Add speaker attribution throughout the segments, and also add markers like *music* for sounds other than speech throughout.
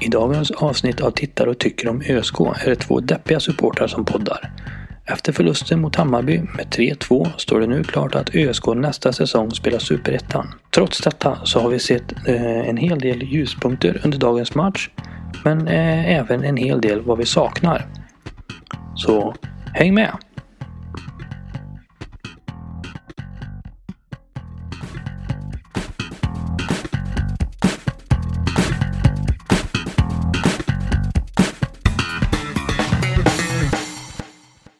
Speaker 1: I dagens avsnitt av Tittar och tycker om ÖSK är det två deppiga supportrar som poddar. Efter förlusten mot Hammarby med 3-2 står det nu klart att ÖSK nästa säsong spelar Superettan. Trots detta så har vi sett eh, en hel del ljuspunkter under dagens match. Men eh, även en hel del vad vi saknar. Så häng med!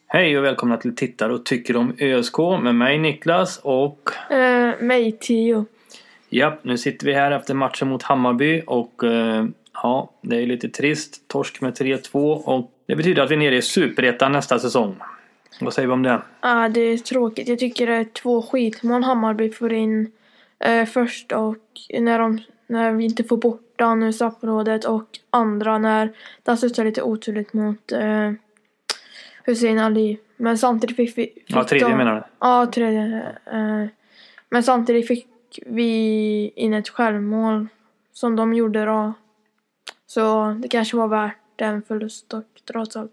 Speaker 1: Hej och välkomna till Tittar och tycker om ÖSK med mig Niklas och
Speaker 2: Eh, mig tio.
Speaker 1: ja, nu sitter vi här efter matchen mot Hammarby och eh, ja, det är lite trist. Torsk med 3-2 och det betyder att vi är nere i Superettan nästa säsong. Vad säger vi om det?
Speaker 2: Ah, det är tråkigt. Jag tycker det är två skitmål Hammarby får in eh, först och när, de, när vi inte får bort den ur straffområdet och andra när den studsar lite oturligt mot eh, Hussein Ali. Men samtidigt fick vi... Fick
Speaker 1: Ja, tredje
Speaker 2: de-
Speaker 1: menar du?
Speaker 2: Ja, tredje. Eh, men samtidigt fick vi in ett självmål som de gjorde då. Så det kanske var värt en förlust och trots allt.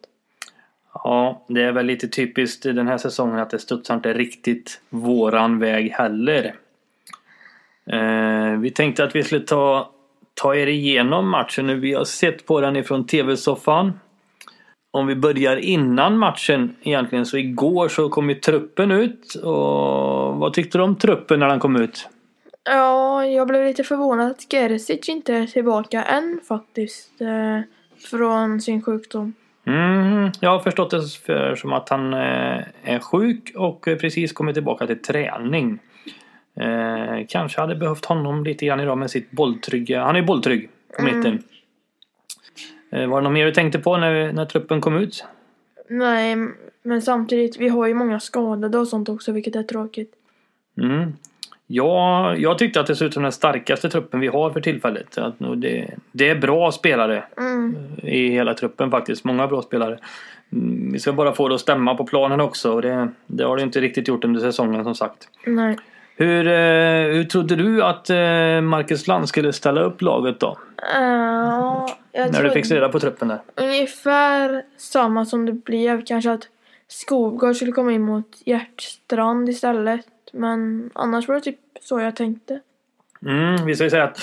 Speaker 1: Ja, det är väl lite typiskt i den här säsongen att det studsar inte riktigt våran väg heller. Eh, vi tänkte att vi skulle ta, ta er igenom matchen nu. Vi har sett på den ifrån tv-soffan. Om vi börjar innan matchen egentligen så igår så kom ju truppen ut och vad tyckte du om truppen när den kom ut?
Speaker 2: Ja, jag blev lite förvånad att Gerzic inte är tillbaka än faktiskt. Eh, från sin sjukdom.
Speaker 1: Mm, jag har förstått det för, som att han eh, är sjuk och eh, precis kommit tillbaka till träning. Eh, kanske hade behövt honom lite grann idag med sitt bolltrygga. Han är ju bolltrygg på
Speaker 2: Mm.
Speaker 1: mitten. Eh, var det något mer du tänkte på när, när truppen kom ut?
Speaker 2: Nej, m- men samtidigt, vi har ju många skadade och sånt också vilket är tråkigt.
Speaker 1: Mm. Ja, jag tyckte att det ser ut som den starkaste truppen vi har för tillfället. Att, nog det, det är bra spelare
Speaker 2: Mm.
Speaker 1: i hela truppen faktiskt. Många bra spelare. Mm, Vi ska bara få det att stämma på planen också och det, det har det inte riktigt gjort under säsongen som sagt.
Speaker 2: Nej.
Speaker 1: Hur, eh, hur trodde du att eh, Marcus Land skulle ställa upp laget då?
Speaker 2: Eh, jag
Speaker 1: När du fick
Speaker 2: tror
Speaker 1: reda på truppen där?
Speaker 2: ungefär samma som det blev. Kanske att Skogård skulle komma in mot Hjärtstrand istället. Men annars var det typ så jag tänkte.
Speaker 1: Mm, vi ska ju säga att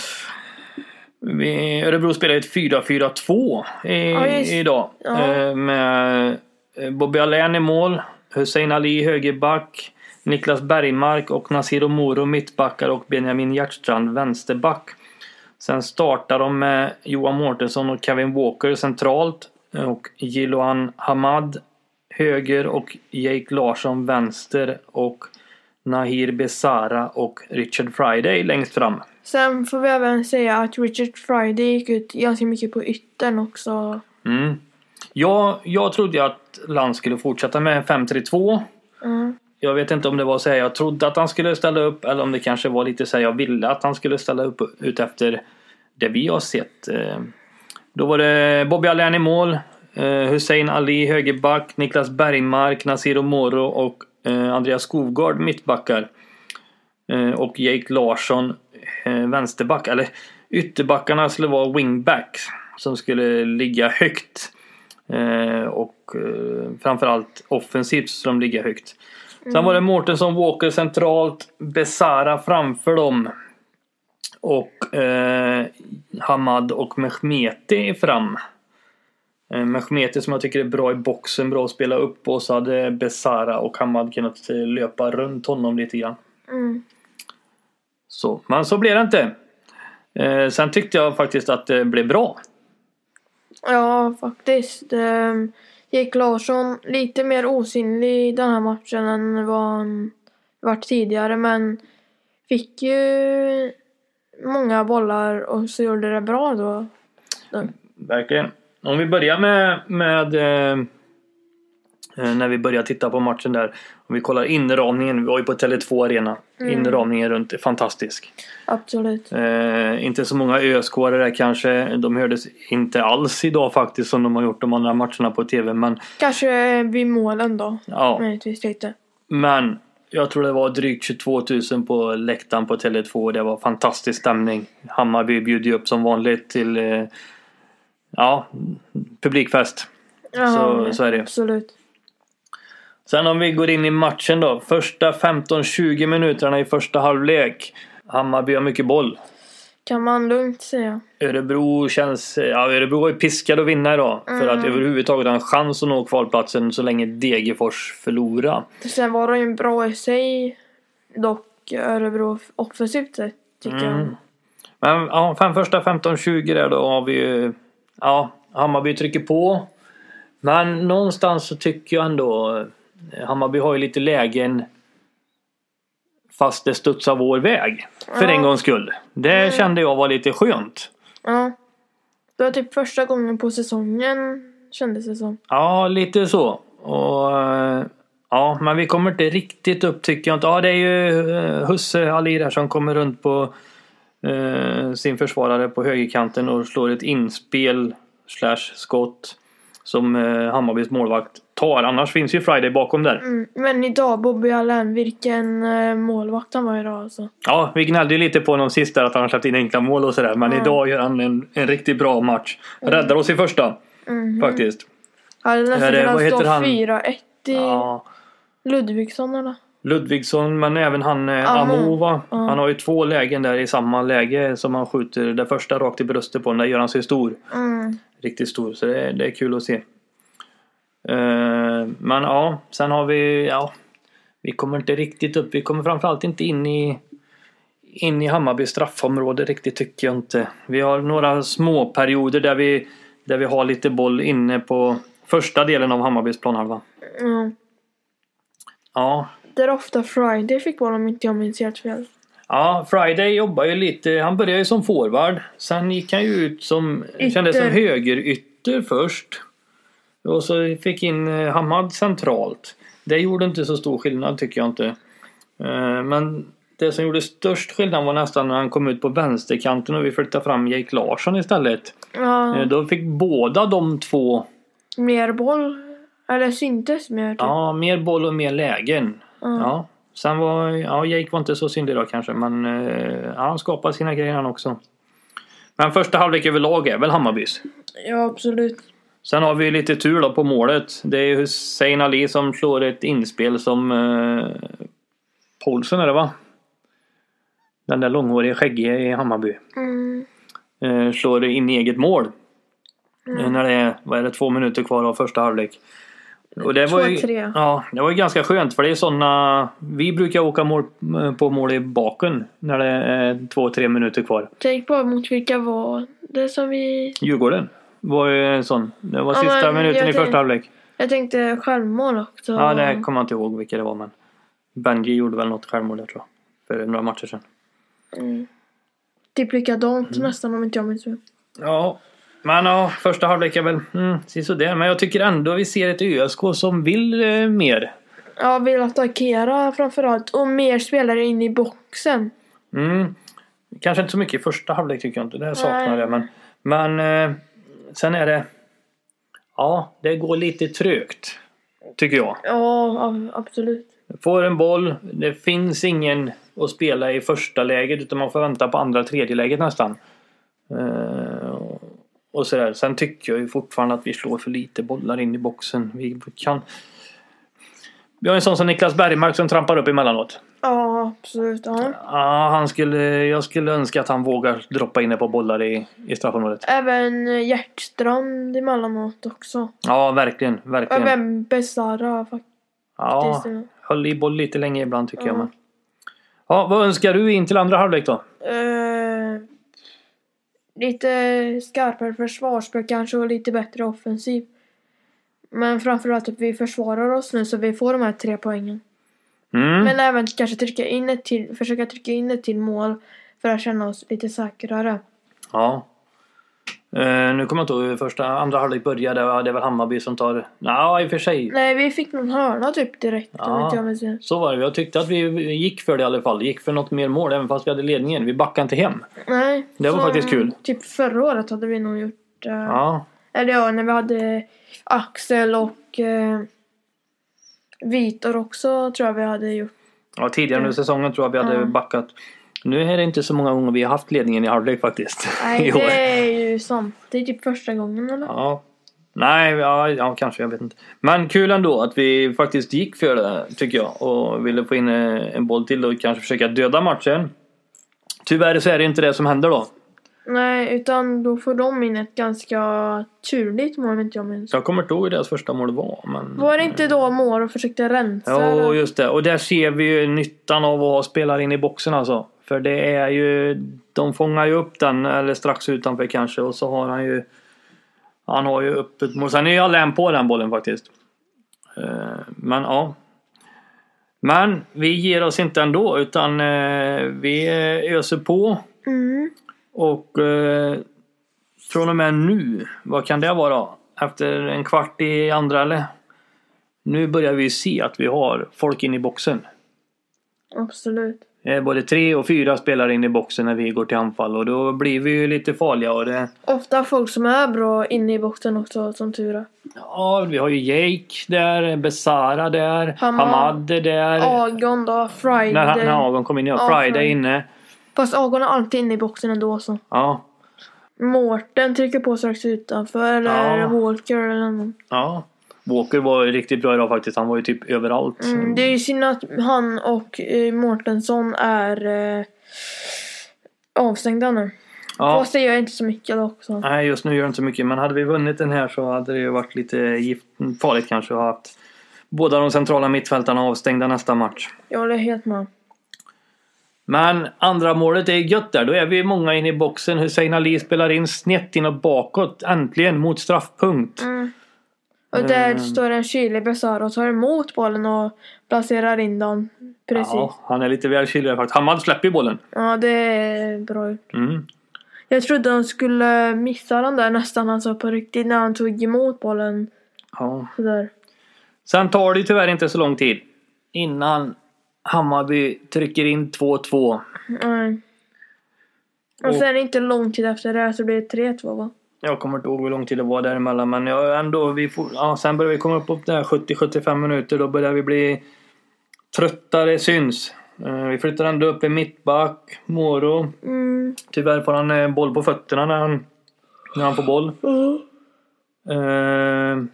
Speaker 1: vi, Örebro spelar ju ett 4-4-2 i,
Speaker 2: Ja, just.
Speaker 1: idag.
Speaker 2: Ja.
Speaker 1: Eh, med eh, Bobby Allain i mål, Hussein Ali i högerback, Niklas Bergmark och Nasir Moro mittbackar och Benjamin Hjertstrand vänsterback. Sen startar de med Johan Mårtensson och Kevin Walker centralt och Jiloan Hamad höger och Jake Larsson vänster och Nahir Besara och Richard Friday längst fram.
Speaker 2: Sen får vi även säga att Richard Friday gick ut ganska mycket på yttern också.
Speaker 1: Mm. Jag, jag trodde ju att Land skulle fortsätta med 5-3-2.
Speaker 2: Mm.
Speaker 1: Jag vet inte om det var så här jag trodde att han skulle ställa upp eller om det kanske var lite så här jag ville att han skulle ställa upp utefter det vi har sett. Eh, Då var det Bobby Allain i mål, eh, Hussein Ali högerback, Niklas Bergmark, Nasir Moro och eh, Andreas Skogard mittbackar. Eh, Och Jake Larsson eh, vänsterback, eller ytterbackarna skulle vara wingbacks som skulle ligga högt. Eh, Och eh, framförallt offensivt skulle de ligga högt. Sen var det Mårtensson Walker centralt, Besara framför dem. Och eh, Hamad och Mehmeti fram. Eh, Mehmeti som jag tycker är bra i boxen, bra att spela upp och så hade Besara och Hamad kunnat eh, löpa runt honom lite grann.
Speaker 2: Mm.
Speaker 1: Så, men så blev det inte. Eh, sen tyckte jag faktiskt att det blev bra.
Speaker 2: Ja, faktiskt. Ehm, Jake Larsson lite mer osynlig i den här matchen än vad han varit tidigare men fick ju många bollar och så gjorde det bra då.
Speaker 1: Verkligen. Om vi börjar med, med eh, eh, när vi börjar titta på matchen där. Om vi kollar inramningen, vi var ju på Tele2 Arena. Inramningen runt är fantastisk.
Speaker 2: Absolut.
Speaker 1: Eh, inte så många ösk där kanske. De hördes inte alls idag faktiskt som de har gjort de andra matcherna på TV. Men
Speaker 2: Kanske vid målen då,
Speaker 1: ja,
Speaker 2: möjligtvis lite.
Speaker 1: men jag tror det var drygt 22 000 på läktaren på Tele2. Det var fantastisk stämning. Hammarby bjuder ju upp som vanligt till eh, ja, publikfest.
Speaker 2: Ja,
Speaker 1: Så- så är det.
Speaker 2: Absolut.
Speaker 1: Sen om vi går in i matchen då. Första 15-20 minuterna i första halvlek. Hammarby har mycket boll.
Speaker 2: Kan man lugnt säga.
Speaker 1: Örebro känns... Ja, Örebro var ju piskade att vinna idag. För att överhuvudtaget ha en chans att nå kvalplatsen så länge Degerfors förlorar.
Speaker 2: Sen var de ju bra i sig dock Örebro offensivt sett tycker
Speaker 1: Mm.
Speaker 2: jag.
Speaker 1: Men ja, fem första 15-20 där då har vi ju... Ja, Hammarby trycker på. Men någonstans så tycker jag ändå... eh, Hammarby har ju lite lägen fast det studsar vår väg. För
Speaker 2: Ja.
Speaker 1: en gångs skull. Det kände jag var lite skönt.
Speaker 2: Ja. Det var typ första gången på säsongen kändes det som.
Speaker 1: Ja, lite så. Och, eh, ja, men vi kommer inte riktigt upp tycker jag inte. Ja, det är ju eh, Husse Ali där som kommer runt på eh, sin försvarare på högerkanten och slår ett inspel slash skott som eh, Hammarbys målvakt tar. Annars finns ju Friday bakom där.
Speaker 2: Mm. Men idag Bobby Allen, vilken eh, målvakt han var idag alltså.
Speaker 1: Ja, vi gnällde ju lite på honom sist där att han har släppt in enkla mål och sådär. Men idag gör han en, en riktigt bra match. Räddar oss i första
Speaker 2: Mm.
Speaker 1: faktiskt.
Speaker 2: Hade
Speaker 1: Ja,
Speaker 2: nästan
Speaker 1: det- vad
Speaker 2: kunnat
Speaker 1: heter
Speaker 2: stå
Speaker 1: han?
Speaker 2: 4-1 i
Speaker 1: Ja.
Speaker 2: Ludvigsson eller?
Speaker 1: Ludvigsson men även han eh,
Speaker 2: Amo.
Speaker 1: Amova. Han har ju två lägen där i samma läge som han skjuter. Det första rakt i bröstet på honom. Där gör han sig stor.
Speaker 2: Mm.
Speaker 1: Riktigt stor. Så det är, det är kul att se. Eh, men ja, sen har vi... Ja, vi kommer inte riktigt upp. Vi kommer framförallt inte in i in i Hammarby straffområde riktigt tycker jag inte. Vi har några små perioder där vi, där vi har lite boll inne på första delen av Hammarbys planhalva.
Speaker 2: Mm.
Speaker 1: Ja,
Speaker 2: Det är ofta Friday fick bollen om inte jag minns helt fel.
Speaker 1: Ja, Friday jobbar ju lite. Han började ju som forward. Sen gick han ju ut som, kändes som högerytter först. Och så fick in eh, Hamad centralt. Det gjorde inte så stor skillnad tycker jag inte. Eh, Men det som gjorde störst skillnad var nästan när han kom ut på vänsterkanten och vi flyttade fram Jake Larsson istället.
Speaker 2: Ja,
Speaker 1: Eh, Då fick båda de två,
Speaker 2: mer boll. Eller syntes mer typ.
Speaker 1: ja, mer boll och mer lägen. Ja. Sen var, ja, Jake var inte så syndig då kanske men eh, ja, han skapade sina grejer han också. Men första halvlek överlag är väl Hammarbys.
Speaker 2: Ja, absolut.
Speaker 1: Sen har vi ju lite tur då på målet. Det är Hussein Ali som slår ett inspel som eh, Paulsen är det va? Den där långhåriga skäggiga i Hammarby.
Speaker 2: Mm.
Speaker 1: Eh, slår in i eget mål.
Speaker 2: Mm.
Speaker 1: Eh, När det är, vad är det, två minuter kvar av första halvlek. Och det var,
Speaker 2: Två,
Speaker 1: ju,
Speaker 2: tre.
Speaker 1: ja, det var ju ganska skönt för det är sådana... Vi brukar åka mål, eh, på mål i baken när det är två, tre minuter kvar.
Speaker 2: Tänk bara mot vilka var det som vi...
Speaker 1: Djurgården var ju en sån. Det var
Speaker 2: Ja,
Speaker 1: sista
Speaker 2: men
Speaker 1: minuten
Speaker 2: jag
Speaker 1: i första
Speaker 2: tänk-
Speaker 1: halvlek.
Speaker 2: Jag tänkte självmål också.
Speaker 1: Ja, det kommer jag inte ihåg vilka det var men... Benji gjorde väl något självmål jag tror. För några matcher sedan.
Speaker 2: Mm. Typ likadant
Speaker 1: Mm.
Speaker 2: nästan om inte jag minns fel.
Speaker 1: Ja, men ja, första halvlek är väl mm, sisådär. Men jag tycker ändå vi ser ett ÖSK som vill eh, mer.
Speaker 2: Ja, vill attackera framförallt och mer spelare in i boxen.
Speaker 1: Mm. Kanske inte så mycket i första halvlek tycker jag inte. Det saknar
Speaker 2: Nej.
Speaker 1: jag. Men, men eh, sen är det... Ja, det går lite trögt. Tycker jag.
Speaker 2: Ja, ja, absolut.
Speaker 1: Får en boll. Det finns ingen att spela i första läget utan man får vänta på andra tredje läget nästan. Eh, och sådär. Sen tycker jag ju fortfarande att vi slår för lite bollar in i boxen. Vi kan... Vi har en sån som Niklas Bergmark som trampar upp emellanåt.
Speaker 2: Ja, absolut. Ja.
Speaker 1: Ja, han skulle, jag skulle önska att han vågar droppa in ett par bollar i, i straffområdet.
Speaker 2: Även eh, Hjärtstrand emellanåt också.
Speaker 1: Ja, verkligen. verkligen.
Speaker 2: Även Besara faktiskt.
Speaker 1: Ja,
Speaker 2: det.
Speaker 1: höll i boll lite länge ibland tycker jag. Men. Ja, vad önskar du in till andra halvlek då?
Speaker 2: Eh, lite skarpare försvarsspel kanske och lite bättre offensiv. Men framförallt att vi försvarar oss nu så vi får de här tre poängen.
Speaker 1: Mm.
Speaker 2: Men även kanske trycka in ett till, försöka trycka in ett till mål för att känna oss lite säkrare.
Speaker 1: Ja. Eh, nu kommer jag inte ihåg hur första, andra halvlek började. Ja, Det är väl Hammarby som tar... Ja, i och för sig.
Speaker 2: Nej, vi fick någon hörna typ direkt.
Speaker 1: Ja.
Speaker 2: om inte jag minns fel.
Speaker 1: Så var det. Jag tyckte att vi gick för det i alla fall. Gick för något mer mål även fast vi hade ledningen. Vi backade inte hem.
Speaker 2: Nej.
Speaker 1: Det var
Speaker 2: som
Speaker 1: faktiskt kul.
Speaker 2: Typ förra året hade vi nog gjort. eh,
Speaker 1: Ja.
Speaker 2: Eller ja, när vi hade Axel och eh, Vitor också tror jag vi hade gjort.
Speaker 1: ja tidigare under säsongen tror jag vi hade backat. Nu är det inte så många gånger vi har haft ledningen i halvlek faktiskt.
Speaker 2: Nej,
Speaker 1: *laughs* i år.
Speaker 2: det är ju sant. Det är typ första gången eller?
Speaker 1: Ja. Nej, ja, ja, kanske. Jag vet inte. Men kul ändå att vi faktiskt gick för det, tycker jag. Och ville få in eh, en boll till och kanske försöka döda matchen. Tyvärr så är det inte det som händer då.
Speaker 2: Nej, utan då får de in ett ganska turligt mål om inte jag minns.
Speaker 1: Så jag kommer inte ihåg hur deras första mål var. Men...
Speaker 2: Var det inte då Moro försökte rensa?
Speaker 1: Jo,
Speaker 2: eller?
Speaker 1: just det. Och där ser vi ju nyttan av att ha spelare in i boxen alltså. För det är ju... De fångar ju upp den, eller strax utanför kanske. Och så har han ju... Han har ju öppet mål. Sen är ju Allen på den bollen faktiskt. Eh, Men ja. Men vi ger oss inte ändå utan eh, vi öser på.
Speaker 2: Mm.
Speaker 1: Och eh, från och med nu, vad kan det vara? Efter en kvart i andra eller? Nu börjar vi se att vi har folk in i boxen.
Speaker 2: Absolut.
Speaker 1: Det är både tre och fyra spelare in i boxen när vi går till anfall och då blir vi ju lite farliga. Och det,
Speaker 2: Ofta folk som är bra inne i boxen också som tur är.
Speaker 1: ja, vi har ju Jake där, Besara där,
Speaker 2: Hamad.
Speaker 1: Hamad är där.
Speaker 2: Agon då, Friday.
Speaker 1: när han- när Agon kom in, ja.
Speaker 2: Ja,
Speaker 1: Friday
Speaker 2: Friday.
Speaker 1: inne.
Speaker 2: Fast Agon är alltid inne i boxen ändå så.
Speaker 1: Ja,
Speaker 2: Mårten trycker på strax utanför eller
Speaker 1: Ja.
Speaker 2: Walker eller någon.
Speaker 1: ja. Walker var ju riktigt bra idag faktiskt. Han var ju typ överallt.
Speaker 2: Mm, det är ju synd att han och eh, Mårtensson är eh, avstängda nu.
Speaker 1: ja.
Speaker 2: Fast det gör inte så mycket då också.
Speaker 1: Nej, just nu gör det inte så mycket. Men hade vi vunnit den här så hade det ju varit lite gift, farligt kanske att ha haft båda de centrala mittfältarna avstängda nästa match.
Speaker 2: Jag håller helt med.
Speaker 1: Men andra målet är gött där. Då är vi många inne i boxen. Hussein Ali spelar in snett in och bakåt. Äntligen mot straffpunkt.
Speaker 2: Mm. Och där
Speaker 1: Mm.
Speaker 2: står en kylig Besara och tar emot bollen och placerar in den. Precis.
Speaker 1: Ja,
Speaker 2: Ja,
Speaker 1: han är lite väl kylig där faktiskt. Hamad släpper ju bollen.
Speaker 2: det är bra gjort.
Speaker 1: Mm.
Speaker 2: Jag trodde han skulle missa den där nästan alltså på riktigt när han tog emot bollen.
Speaker 1: Ja.
Speaker 2: Sådär.
Speaker 1: Sen tar det ju tyvärr inte så lång tid innan Hammarby trycker in 2-2.
Speaker 2: Nej. Och
Speaker 1: Och-
Speaker 2: sen inte lång tid efter det så blir det 3-2 va?
Speaker 1: Jag kommer inte ihåg hur lång tid det var däremellan men jag ändå, vi får, ja, sen börjar vi komma upp på det här 70-75 minuter. Då börjar vi bli tröttare syns. Eh, Vi flyttar ändå upp i mittback, Moro.
Speaker 2: Mm.
Speaker 1: Tyvärr får han eh, boll på fötterna när han, när han får boll. Eh,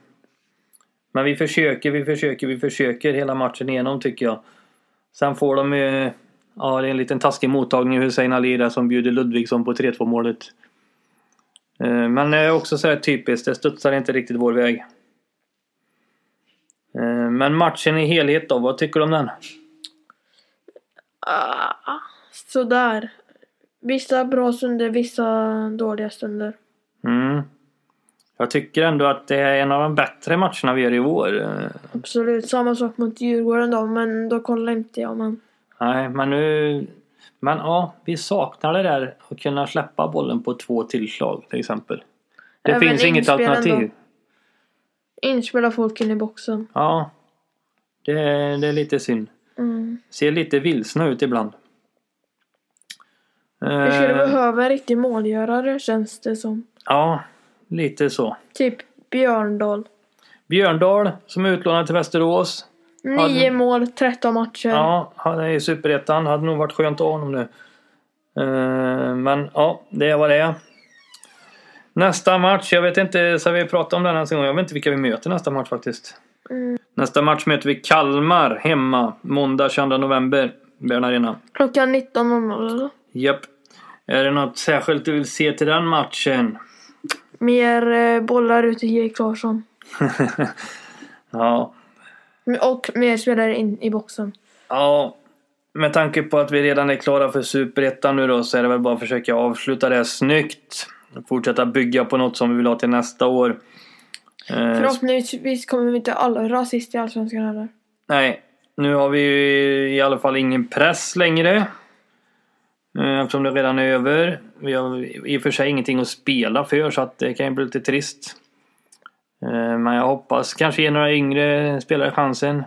Speaker 1: Men vi försöker, vi försöker, vi försöker hela matchen igenom tycker jag. Sen får de ju... Ja, det är en liten taskig mottagning Hussein Ali där som bjuder Ludvigsson på 3-2 målet. Eh, Men det är också så här typiskt, det studsar inte riktigt vår väg. Eh, Men matchen i helhet då, vad tycker du om den?
Speaker 2: Ah, sådär. Vissa bra stunder, vissa dåliga stunder.
Speaker 1: Mm. Jag tycker ändå att det är en av de bättre matcherna vi gör i vår. Eh,
Speaker 2: Absolut, samma sak mot Djurgården då, men då kollar inte jag. Men
Speaker 1: Nej, men nu... Men ja, vi saknar det där att kunna släppa bollen på två tillslag till exempel. Det
Speaker 2: Även
Speaker 1: finns inget
Speaker 2: inspel
Speaker 1: alternativ.
Speaker 2: ändå. inspelar folk in i boxen.
Speaker 1: Ja, det är, det är lite synd.
Speaker 2: Mm.
Speaker 1: Ser lite vilsna ut ibland.
Speaker 2: Vi skulle
Speaker 1: Eh,
Speaker 2: behöva en riktig målgörare känns det som.
Speaker 1: ja, lite så.
Speaker 2: Typ Björndal.
Speaker 1: Björndal som är utlånad till Västerås. Ja,
Speaker 2: Nio mål, 13 matcher.
Speaker 1: Ja, han är i Superettan. Hade nog varit skönt att ha honom nu. Eh, Men ja, det var det. Nästa match. Jag vet inte, så vi pratat om den här gång. Jag vet inte vilka vi möter nästa match faktiskt.
Speaker 2: Mm.
Speaker 1: Nästa match möter vi Kalmar hemma. Måndag 22 november. Bern Arena.
Speaker 2: Klockan 19.00 eller?
Speaker 1: Japp. Är det något särskilt du vill se till den matchen?
Speaker 2: Mer eh, bollar ut till Erik Larsson.
Speaker 1: ja.
Speaker 2: Och mer spelare in i boxen.
Speaker 1: Ja, med tanke på att vi redan är klara för Superettan nu då så är det väl bara att försöka avsluta det här snyggt. Fortsätta bygga på något som vi vill ha till nästa år. Eh,
Speaker 2: Förhoppningsvis kommer vi inte allra sist i Allsvenskan heller.
Speaker 1: nej, nu har vi ju i alla fall ingen press längre. Eh, Eftersom det redan är över. Vi har i och för sig ingenting att spela för så att det kan ju bli lite trist. Eh, Men jag hoppas kanske ge några yngre spelare chansen.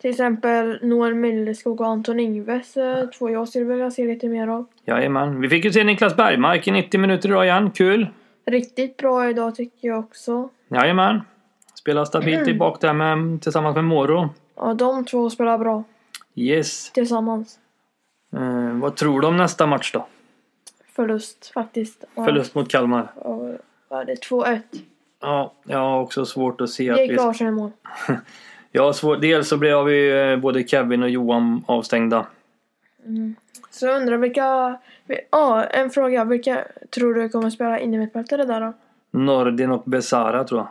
Speaker 2: Till exempel Noel Milleskog och Anton Ingves, eh, två jag skulle vilja se lite mer av.
Speaker 1: Jajamän. Vi fick ju se Niklas Bergmark i 90 minuter idag igen. Kul!
Speaker 2: Riktigt bra idag tycker jag också.
Speaker 1: Jajamän. Spelar stabilt i bak där med, tillsammans med Moro.
Speaker 2: Ja, de två spelar bra
Speaker 1: Yes.
Speaker 2: tillsammans.
Speaker 1: Eh, vad tror du om nästa match då?
Speaker 2: Förlust faktiskt. Och,
Speaker 1: Förlust mot Kalmar.
Speaker 2: Och, ja, det är 2-1.
Speaker 1: Ja, jag har också svårt att se att
Speaker 2: Erik
Speaker 1: vi...
Speaker 2: Larsson i mål.
Speaker 1: Jag har svårt... Dels så blev vi eh, både Kevin och Johan avstängda.
Speaker 2: Så jag undrar vilka... vi- Ja, en fråga. Vilka tror du kommer spela innermittfältare där då?
Speaker 1: Nordin och Besara tror jag.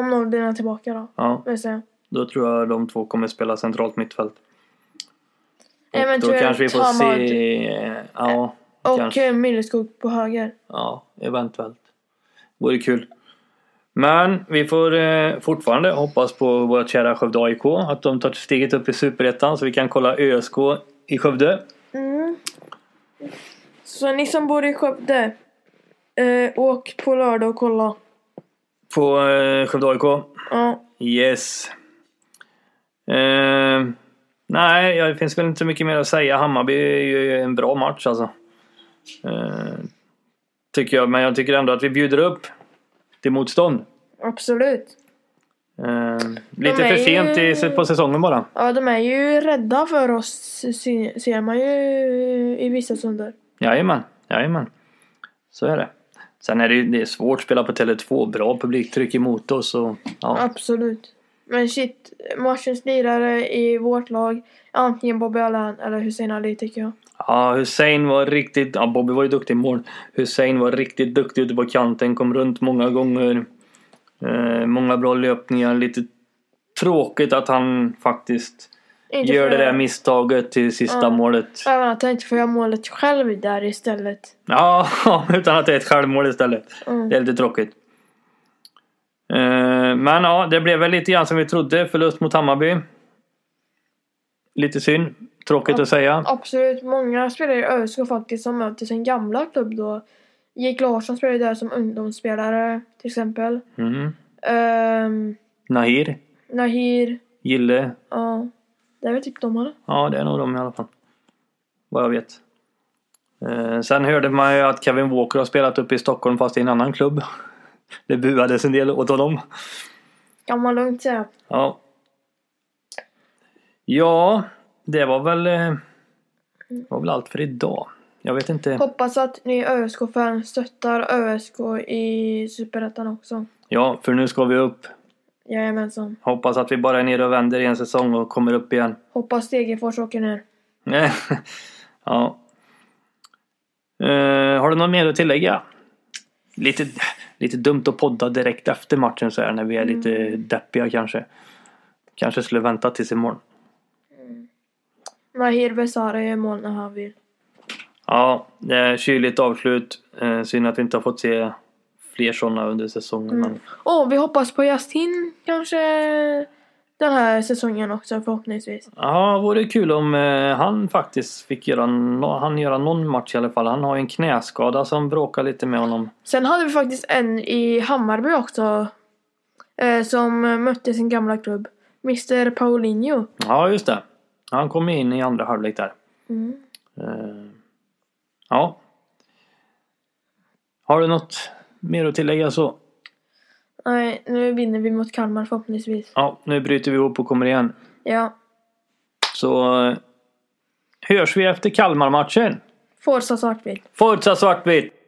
Speaker 2: Om Nordin är tillbaka då.
Speaker 1: Ja,
Speaker 2: Vill säga.
Speaker 1: då tror jag de två kommer spela centralt mittfält. Och då
Speaker 2: Eventuellt
Speaker 1: kanske vi får
Speaker 2: Hamad
Speaker 1: se... eh, Ja,
Speaker 2: och
Speaker 1: kanske.
Speaker 2: eh, Milleskog på höger.
Speaker 1: ja, eventuellt. Vore kul. Men vi får eh, fortfarande hoppas på våra kära Skövde AIK. Att de tar steget upp i Superettan så vi kan kolla ÖSK i Skövde.
Speaker 2: Mm. Så ni som bor i Skövde, eh, åk på lördag och kolla.
Speaker 1: På eh, Skövde AIK.
Speaker 2: Ja,
Speaker 1: Yes. Eh, nej, ja, det finns väl inte mycket mer att säga. Hammarby är ju en bra match alltså. Eh, tycker jag, men jag tycker ändå att vi bjuder upp till motstånd.
Speaker 2: absolut.
Speaker 1: Eh, lite
Speaker 2: är
Speaker 1: för
Speaker 2: ju-
Speaker 1: sent i, på säsongen bara.
Speaker 2: Ja, de är ju rädda för oss, sy- ser man ju i vissa stunder.
Speaker 1: Jajamän, jajamän. Så är det. Sen är det, ju- det är svårt att spela på Tele2. Bra publiktryck emot oss. Och, ja.
Speaker 2: Absolut. Men shit, matchens lirare i vårt lag är antingen Bobby Allan eller Hussein Ali tycker jag.
Speaker 1: Ja, Hussein var riktigt... Ja, Bobby var ju duktig i mål. Hussein var riktigt duktig ute på kanten. Kom runt många gånger. Eh, många bra löpningar. Lite tråkigt att han faktiskt
Speaker 2: Inte
Speaker 1: gör
Speaker 2: för-
Speaker 1: det där misstaget till sista
Speaker 2: Ja.
Speaker 1: målet.
Speaker 2: Även att jag inte får göra målet själv där istället.
Speaker 1: Ja, *laughs* utan att det är ett självmål istället.
Speaker 2: Mm.
Speaker 1: Det är lite tråkigt. Eh, Men ja, det blev väl lite grann som vi trodde. Förlust mot Hammarby. Lite synd. Tråkigt att säga.
Speaker 2: Absolut, många spelare i ÖSK faktiskt som möter sin gamla klubb då. Jake Larsson spelade där som ungdomsspelare till exempel.
Speaker 1: Mm.
Speaker 2: Ehm,
Speaker 1: Nahir,
Speaker 2: Nahir,
Speaker 1: Gille.
Speaker 2: ja. Det är väl typ de eller?
Speaker 1: Ja, det är nog de i alla fall. Vad jag vet. Eh, Sen hörde man ju att Kevin Walker har spelat upp i Stockholm fast i en annan klubb. *laughs* Det buades en del åt honom.
Speaker 2: Kan man lugnt säga.
Speaker 1: Ja. Ja, det var väl... eh, Det var väl allt för idag. Jag vet inte.
Speaker 2: Hoppas att ni ÖSK-fans stöttar ÖSK i Superettan också.
Speaker 1: Ja, för nu ska vi upp.
Speaker 2: Jajamensan.
Speaker 1: Hoppas att vi bara är nere och vänder i en säsong och kommer upp igen. *laughs*
Speaker 2: Hoppas Degerfors åker ner.
Speaker 1: ja. Eh, har du något mer att tillägga? Lite, lite dumt att podda direkt efter matchen så här när vi är lite deppiga kanske. Kanske skulle vänta tills imorgon.
Speaker 2: Nahir Besara gör mål när han vill.
Speaker 1: Ja, det är kyligt avslut. Eh, synd att vi inte har fått se fler sådana under säsongen. Men
Speaker 2: Åh, vi hoppas på Justin kanske den här säsongen också förhoppningsvis.
Speaker 1: Ja, det vore kul om eh, han faktiskt fick göra, nå- han göra någon match i alla fall. Han har ju en knäskada som bråkar lite med honom.
Speaker 2: Sen hade vi faktiskt en i Hammarby också. Eh, som eh, mötte sin gamla klubb. Mr Paulinho.
Speaker 1: Ja, just det. Han kom in i andra halvlek där.
Speaker 2: Mm.
Speaker 1: Eh, ja. Har du något mer att tillägga så?
Speaker 2: Nej, nu vinner vi mot Kalmar förhoppningsvis.
Speaker 1: Ja, nu bryter vi ihop och kommer igen.
Speaker 2: Ja.
Speaker 1: Så eh, hörs vi efter Kalmarmatchen.
Speaker 2: Forza Svartvitt.
Speaker 1: Forza Svartvitt!